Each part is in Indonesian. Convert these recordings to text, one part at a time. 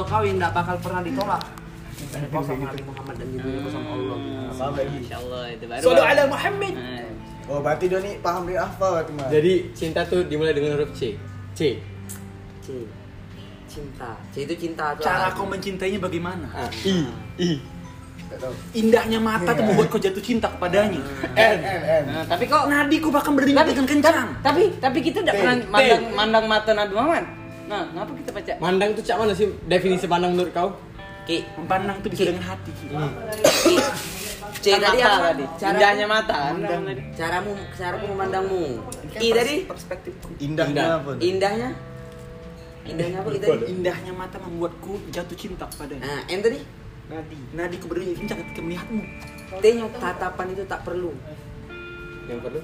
kawin nggak bakal pernah ditolak. Engkau sama Nabi Muhammad dan dirimu sama Allah. gitu. Paham lagi. Masya Allah itu baru. Sallu ala Muhammad. Eh, Oh, berarti dia ni paham dia hafal berarti mah. Jadi cinta tuh dimulai dengan huruf C. C. C. Cinta. C itu cinta atau apa? Cara kau mencintainya bagaimana? Ah, I. I. Iya. tak tahu. Indahnya mata tuh membuat kau jatuh cinta kepadanya. Ah. N. N N. nah, tapi kok Nadi kau bahkan berdingat dengan kencang. tapi tapi kita tidak Teh, pernah teh. mandang mandang mata Nabi Muhammad. Nah, kenapa kita baca? Mandang tuh cak mana sih definisi pandang menurut kau? Ki. Memandang tuh bisa dengan hati. Ki. C Kan tadi mata apa? tadi. Cara- Indahnya mata. kan? Caramu, caraku memandangmu. Kan I Pers- tadi perspektif kau. Indahnya Indah. apa? indahnya. Indahnya apa kita? Indahnya mata membuatku jatuh cinta kepadanya. Nah, M tadi Nadi, nadi kau berdingat kencang ketika melihatmu. T-nya tatapan itu tak perlu. Yang perlu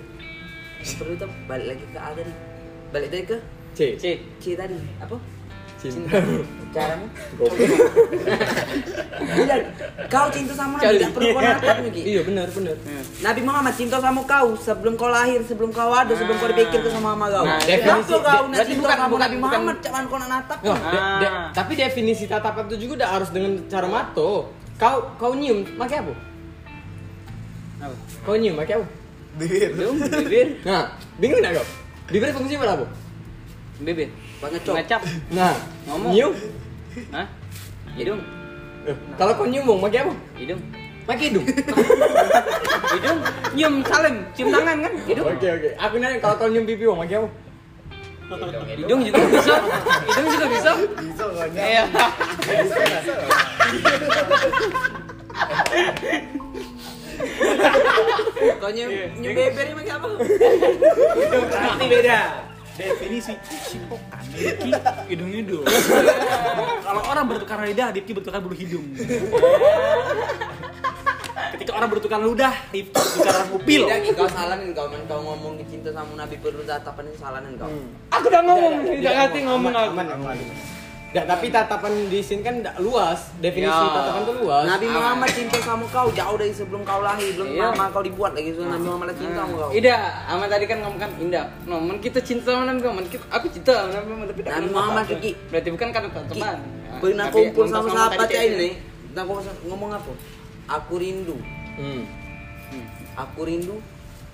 Yang perlu itu balik lagi ke A tadi. Balik tadi ke C. C. C tadi. Apa? Cinta. Caramu? Goblok. Tidak. Iya, Kau cinta sama Kali. Nabi, tidak perlu kau kan natap gitu? Nugi. Iya benar benar. Hmm. Nabi Muhammad cinta sama kau sebelum kau lahir, sebelum kau ada, sebelum kau dipikir ke sama mama kau. Nah, Kenapa definisi- kau de- nak berarti cinta bukan- sama bukan- Nabi bukan- Muhammad, cuman kau nak natap? Nah, de- de- Ah. tapi definisi tatapan itu juga udah harus dengan cara mato. Kau kau nyium, pakai apa? Apa? Kau nyium, pakai apa? Duit. Hidung, bibir, Nah, bingung nggak kau? Bibir fungsi buat apa? bibir. Pengecok. Ngecap. Nah, Ngomong. nyium. Hah? Iya. Hidung, Eh, Kalau kau nyium, mau pakai apa? hidung. Pakai hidung. Hidung, nyium salim, cium tangan kan? Hidung. Oke oke. Aku nanya kalau kau nyium pipi, mau pakai apa? Hidung juga bisa. Hidung juga bisa. Bisa banyak. Iya. Bisa bisa. Kau nyium nyium bebernya pakai apa? Berarti beda. Definisi simpokan Diki hidung hidung. Kalau orang bertukar lidah, Diki bertukar bulu hidung. Ketika orang bertukar ludah, Diki bertukar pupil. Tidak, Iya, Ki, kau salah nih kau, man. kau ngomong cinta sama Nabi perlu tatapan itu salah nih kau. Aku udah ngomong, tidak Iya, ngerti ngomong aku. Nah. Aman aman. Nggak, tapi tatapan di sini kan nggak luas. Definisi Ya. tatapan tuh luas. Nabi Muhammad cinta sama kau jauh dari sebelum kau lahir, belum Iya. mama kau dibuat lagi sudah Nabi Muhammad dah cinta sama kau. Ida, Ahmad tadi kan ngomong kan indah. No, men kita cinta sama Nabi Muhammad. Kita, aku cinta sama Nabi Muhammad tapi tak Nabi kenal Muhammad, apa-apa. Ki. Berarti bukan karena Ki, teman. Nah, pernah kumpul sama sahabat ya ini. Nah, kau ngomong apa? Aku rindu. Hmm. Aku rindu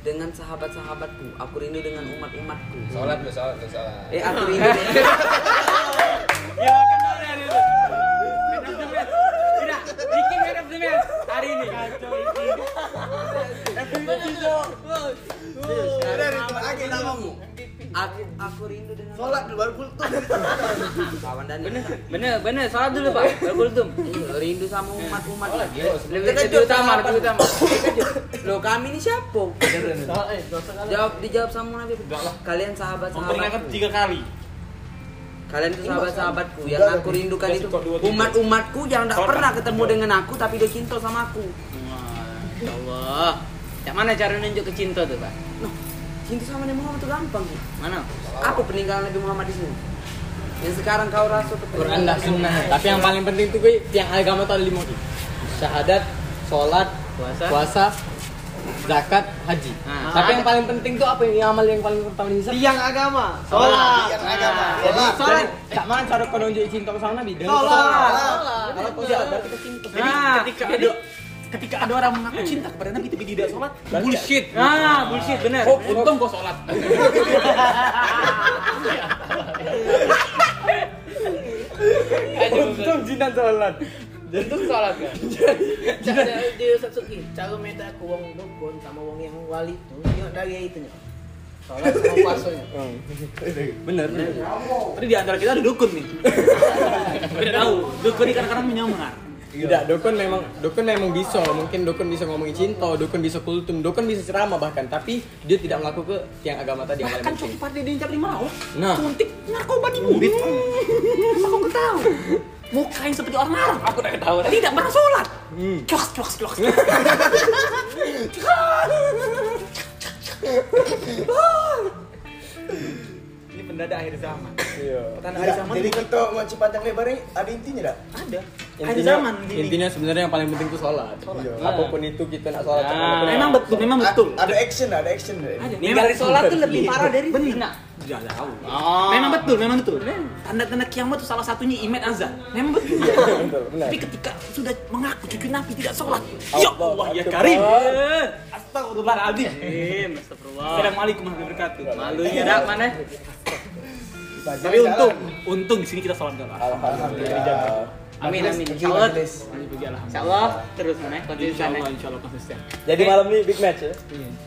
dengan sahabat-sahabatku. Aku rindu dengan umat-umatku. Sholat lu, sholat lu, sholat. Eh, aku rindu. Ya, kenal ya itu. Man of the match. Tidak, Diki man of the match hari ini. Ada itu lagi namamu. aku, aku rindu dengan Sholat dulu baru kultum. kawan dan Bener, bener, bener. Salat dulu pak. Berkultum. Iya, rindu sama umat-umat. Lebih Kita lebih utama, sahabat. lebih utama. Loh, kami ini siapa? Jawab dijawab sama Nabi. Kalian sahabat-sahabatku. Memperingatkan tiga kali. Kalian itu sahabat-sahabatku yang aku rindukan itu umat-umatku yang tidak pernah ketemu dengan aku tapi dia cinta sama aku. Masya ya Allah. Cak mana cara nunjuk ke cinta tuh pak? Noh, cinta sama Nabi Muhammad itu gampang. Ki. Mana? Apa peninggalan Nabi Muhammad di sini? Yang sekarang kau rasa itu Quran dah sunnah. Tapi yang paling penting tuh gue yang agama tuh ada lima Ki. Syahadat, sholat, Puasa. puasa, zakat, haji. Nah. Tapi yang paling penting tuh apa yang amal yang paling pertama di Islam? Tiang agama. Sholat. Yang agama. Sholat. Sholat. Kak mana Eh, cara kau nunjuk cinta sama Nabi? Dengan Kalau kau jahat berarti kau cinta. Jadi Nah, Ah, ketika jadi- ada ketika ada orang mengaku cinta kepada Nabi tapi tidak sholat, Bullshit. Ah, bullshit bener. oh untung kau sholat. Untung jinan sholat. Itu salah kan? Jadi Satsuki, cara meta aku wong dukun sama wong yang wali itu, nyok dari itu nyok. Soalnya sama puasanya. Bener bener. Tadi di antara kita ada dukun nih. Tidak tahu, dukun ini kadang-kadang menyamar. Tidak, dukun memang dukun memang bisa, mungkin dukun bisa ngomongin cinta, dukun bisa kultum, dukun bisa ceramah bahkan, tapi dia tidak melakukan ke yang agama tadi yang paling Bahkan penting. Coki Pardede yang cap lima rawa, Nah. suntik narkoba di mulut. Masa kau tahu? Mukanya seperti orang Arab. Aku tidak tahu. Tidak pernah sholat. Cuaks, cuaks, cuaks. Ini pendada akhir zaman. Iya. Pertanda akhir zaman. Jadi kita mau panjang lebar ini ada intinya tak? ada. Akhir Intinya, zaman gini. intinya sebenarnya yang paling penting itu sholat. Iya. Apapun itu kita nak sholat. Nah. apapun itu. Memang betul, memang betul. Ada Ah, action, ada action. Ada. Ninggalin sholat tuh lebih parah dari Bener. zina. tidak tahu. Ah. Memang betul, memang betul. Tanda-tanda kiamat itu salah satunya imet azan. Memang betul. Betul, benar. Tapi ketika sudah mengaku cucu Nabi tidak sholat, ya Allah ya Karim. Astagfirullahaladzim. Assalamualaikum warahmatullahi wabarakatuh. Malunya dak mana? Tapi untung, untung di sini kita sholat gak Alhamdulillah. Amin amin. Bagus, Insya Allah. bagus. Insya Allah terus mana? Konsisten. Insya Allah, eh. insya Allah konsisten. Jadi malam ini big match ya.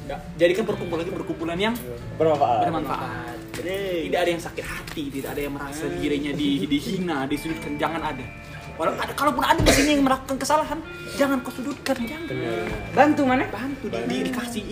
Nggak, Jadikan perkumpulan ini perkumpulan yang Bermanfaat. bermanfaat. Tidak ada yang sakit hati, tidak ada yang merasa dirinya di, dihina, disudutkan, jangan ada. Walau ada, kalaupun ada di sini yang melakukan kesalahan, jangan kau sudutkan, jangan. Bantu eh. mana? Bantu di, di- dikasih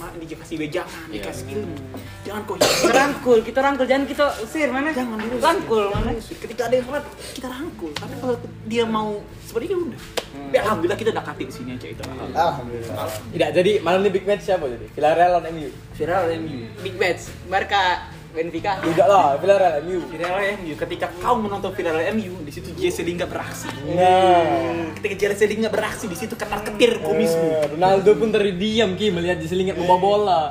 ma- dikasih wejangan, dikasih ilmu. Jangan kau Kita hina. rangkul, kita rangkul jangan kita usir mana? Jangan diusir. Rangkul mana? Ketika ada yang salah, kita rangkul. Tapi kalau dia mau seperti itu udah. Tapi alhamdulillah kita dekati di sini aja itu. Alhamdulillah. Tidak, jadi malam ini big match siapa jadi? Villarreal lawan MU. Viral MU. Big match. Barca Benfica. Tidak lah, Villarreal MU. Viral MU, ketika kau menonton viral MU, di situ Jesse Lingard beraksi. Nah. Ketika Jesse Lingard beraksi, di situ kena Eh, ketir kumismu. Ronaldo pun terdiam Ki melihat diselingat membawa bola.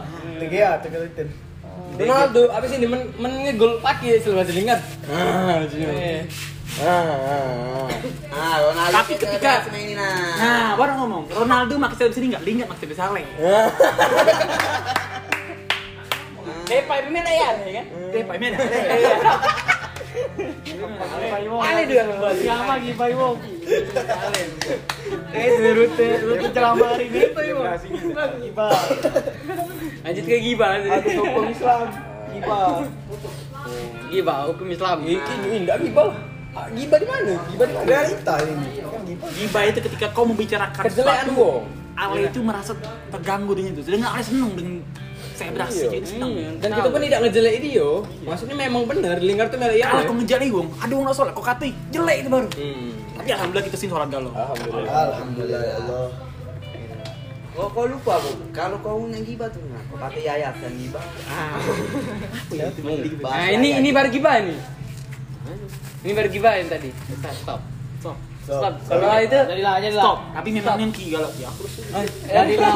TGA, Tegelitin. Ronaldo abis ini men, men ngegol ya, pakai selama diselingat. Ah, cium. Ah, ah, ah. Ah, Ronaldo Tapi kita ketika- bahas main ini nah. Nah, baru ngomong, Ronaldo maksudnya di sini nggak, Lingard maksudnya di Saleh. Depay pemain ayah ya kan? Deh, Pak Men. Aneh dua membuat. Sama lagi Pak Wong. Eh, itu rute rute ceramah hari ini. Lanjut ke Giba. Aku hukum Islam. Giba. Giba, hukum Islam. Iki indah Giba. Ah, Giba di mana? Giba di mana? Realita ini. Kan gitu. Giba itu ketika kau membicarakan Kejelekan sesuatu, gua. Ale itu merasa terganggu dengan itu. Sedangkan Ale seneng dengan saya Iya. beraksi, jadi seneng. Dan kita pun tidak ngejelek dia. Maksudnya memang benar Lingard tuh melek Kalau kau ya. ngejar nih, Wong, ada orang nggak sholat, kau katai, jelek itu baru. Hmm. Tapi alhamdulillah kita sini sholat galau. Alhamdulillah. Alhamdulillah ya Allah. Oh, kau lupa, Bu. Kalau kau nang gibah tuh, nah, kau pakai Ah. yayat dan gibah. Nah, ini ini baru Giba nih. Ini baru Giba yang tadi. Stop. Stop. Stop. Kalau itu Jadilah, jadilah. Stop. Tapi memang yang ki galau ya. Aku Jadilah.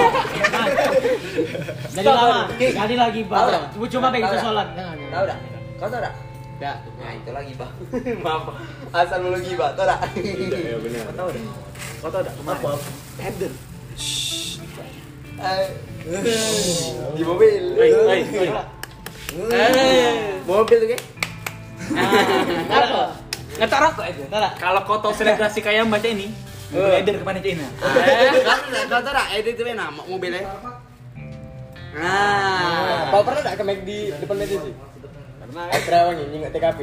Jadilah. Jadilah gibah. Tahu tak? Coba pengen Tahu tak? sholat. Tahu dah? Kau tahu dah? Dah. Nah, itu lagi, Pak. Maaf. Asal lu gibah, tahu dah? Iya, benar. Kau tahu dah? Kau tahu enggak kemarin? Header. Eh, Di mobil. Hei, hei, hei. Eh. Mobil tuh, guys. Apa? Ngetar rokok aja. Kalau kau tahu selebrasi kayak Mbak ini, mau header kemana Cina? Kau tahu dah? Edit tuh enak, mobilnya. Nah. Kau pernah enggak ke McD depan meja sih? Pernah. Terawang ini nggak ya? TKP.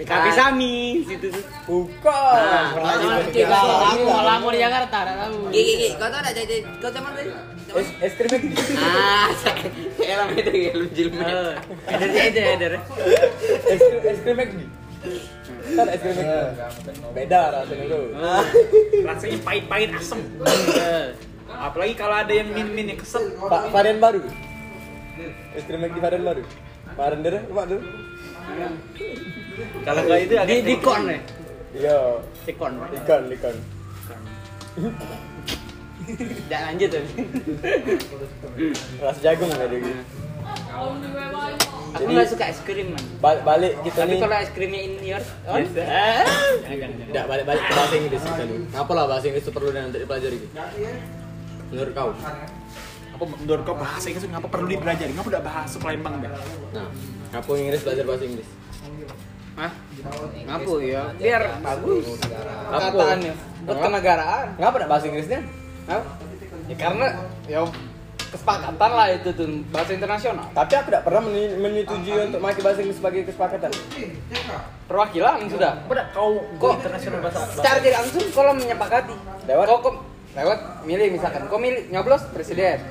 PKP Sami situ. Bukan. Pernah di Bandung. Kalau di Jakarta, ada tahu. Gigi, gigi, kau tahu dah? Jadi, kau teman tadi? Teman? Es es krim McD. Ah, saya lama itu ya, lu Eh. jilmet. Ada aja ada. Es krim es krim McD. Kan es krim McD. Beda lah rasanya tuh. Rasanya pahit-pahit asem. Eh. Apalagi kalau ada yang min-min yang kesel. Pak varian baru. Es krim McD varian baru. Varian dari rumah tuh. Kalau nggak itu Di di kon ya. Iya. Di kon. Ikan ikan. Tidak lanjut tapi. Ras jagung lah ada gitu. Aku Jadi- nggak suka es krim man. Ba- balik kita Tapi nih. kalau es krimnya in your own. Yes. Tidak balik balik ke bahasa Inggris kita nih. Apa lah bahasa Inggris itu perlu dan untuk dipelajari gitu? Menurut kau? Apa menurut kau bahasa Inggris ngapa perlu dipelajari? Ngapa udah bahasa Palembang dah? Nah, apa yang Inggris belajar bahasa Inggris? Hah? Ngapu ya. Biar bagus. Apa? Kataannya. Buat Ngapa? kenegaraan. Ngapa enggak bahasa Inggrisnya? Hah? Ya karena ya kesepakatan lah itu tuh bahasa internasional. Tapi aku tidak pernah meni- menyetujui untuk pakai bahasa Inggris sebagai kesepakatan. Perwakilan sudah. Udah kau kok internasional bahasa. Secara tidak langsung kalau menyepakati. Lewat? Kau, kau- lewat milih misalkan. Kau milih nyoblos presiden.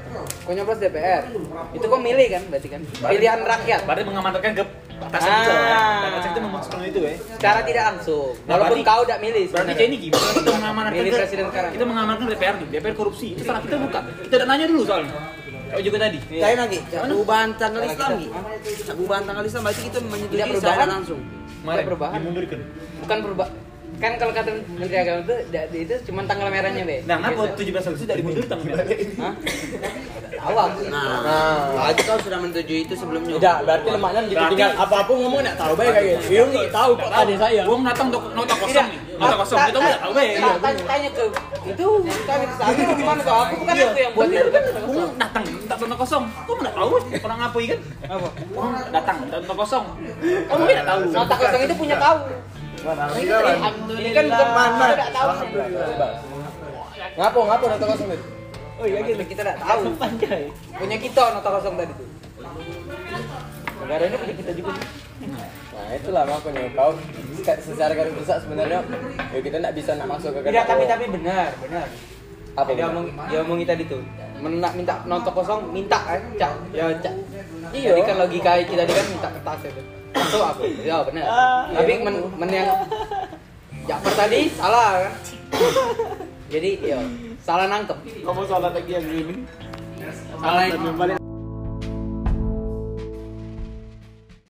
Kau nyoblos DPR. Itu kau milih kan berarti kan. Pilihan rakyat. Berarti mengamanatkan ke batas Ah. itu. ya. Batas itu memaksakan itu ya. Secara tidak langsung. Nah, Walaupun berarti- kau tidak milih. Berarti sebenarnya. kayak ini gimana kita mengamanatkan Milih ke- presiden sekarang. Kita mengamanatkan DPR nih, DPR korupsi. Itu salah kita bukan. Kita udah nanya dulu soalnya. Kau juga tadi. Iya. Kayak lagi, cak perubahan tanggal Islam lagi. Cak perubahan tanggal Islam berarti kita menyetujui Tidak secara perubahan. langsung. Kemarin perubahan. dimundurkan. Bukan perubahan. kan kalau kata menteri agama itu da- itu cuma tanggal merahnya be Nah, kenapa 17 Agustus tidak dimunculkan? Hah? awal Nah, Nah. aja kau sudah menuju itu sebelumnya. Tidak, berarti lemaknya gitu Berarti- tinggal apa-apa ngomong nak tahu baik kayak gitu. Iya enggak tahu kok ada saya. Wong datang dok- nota kosong nih. Nota kosong. Ta- Kita enggak tahu, Bang. ta- ta- tanya ke itu tanya ke sana gimana kok aku bukan aku yang buat itu kan Wong datang minta nota kosong. Kok enggak tahu? Orang apa kan? Apa? Wong datang minta nota kosong. Kamu enggak tahu. nota kosong Nah, itu punya kau ini kan bukan mana tidak tahu Ngapo ngapo nonton kosong itu? oh iya gitu kita tidak tahu punya kita nota kosong tadi tuh negara ini punya kita juga Nah itulah makanya kau se- secara garis besar sebenarnya ya kita nggak bisa nak masuk ke tidak garis Iya, tapi bawah. tapi benar benar Iya, Apa dia benar? omong dia omongin tadi tuh menak minta nonton kosong minta kan cak ya cak Iya. tadi kan logika kita tadi kan minta kertas itu itu aku ya benar Ah. tapi men, men yang Jakper tadi salah kan jadi ya salah nangkep Kamu salah lagi yang ini. Salah yang balik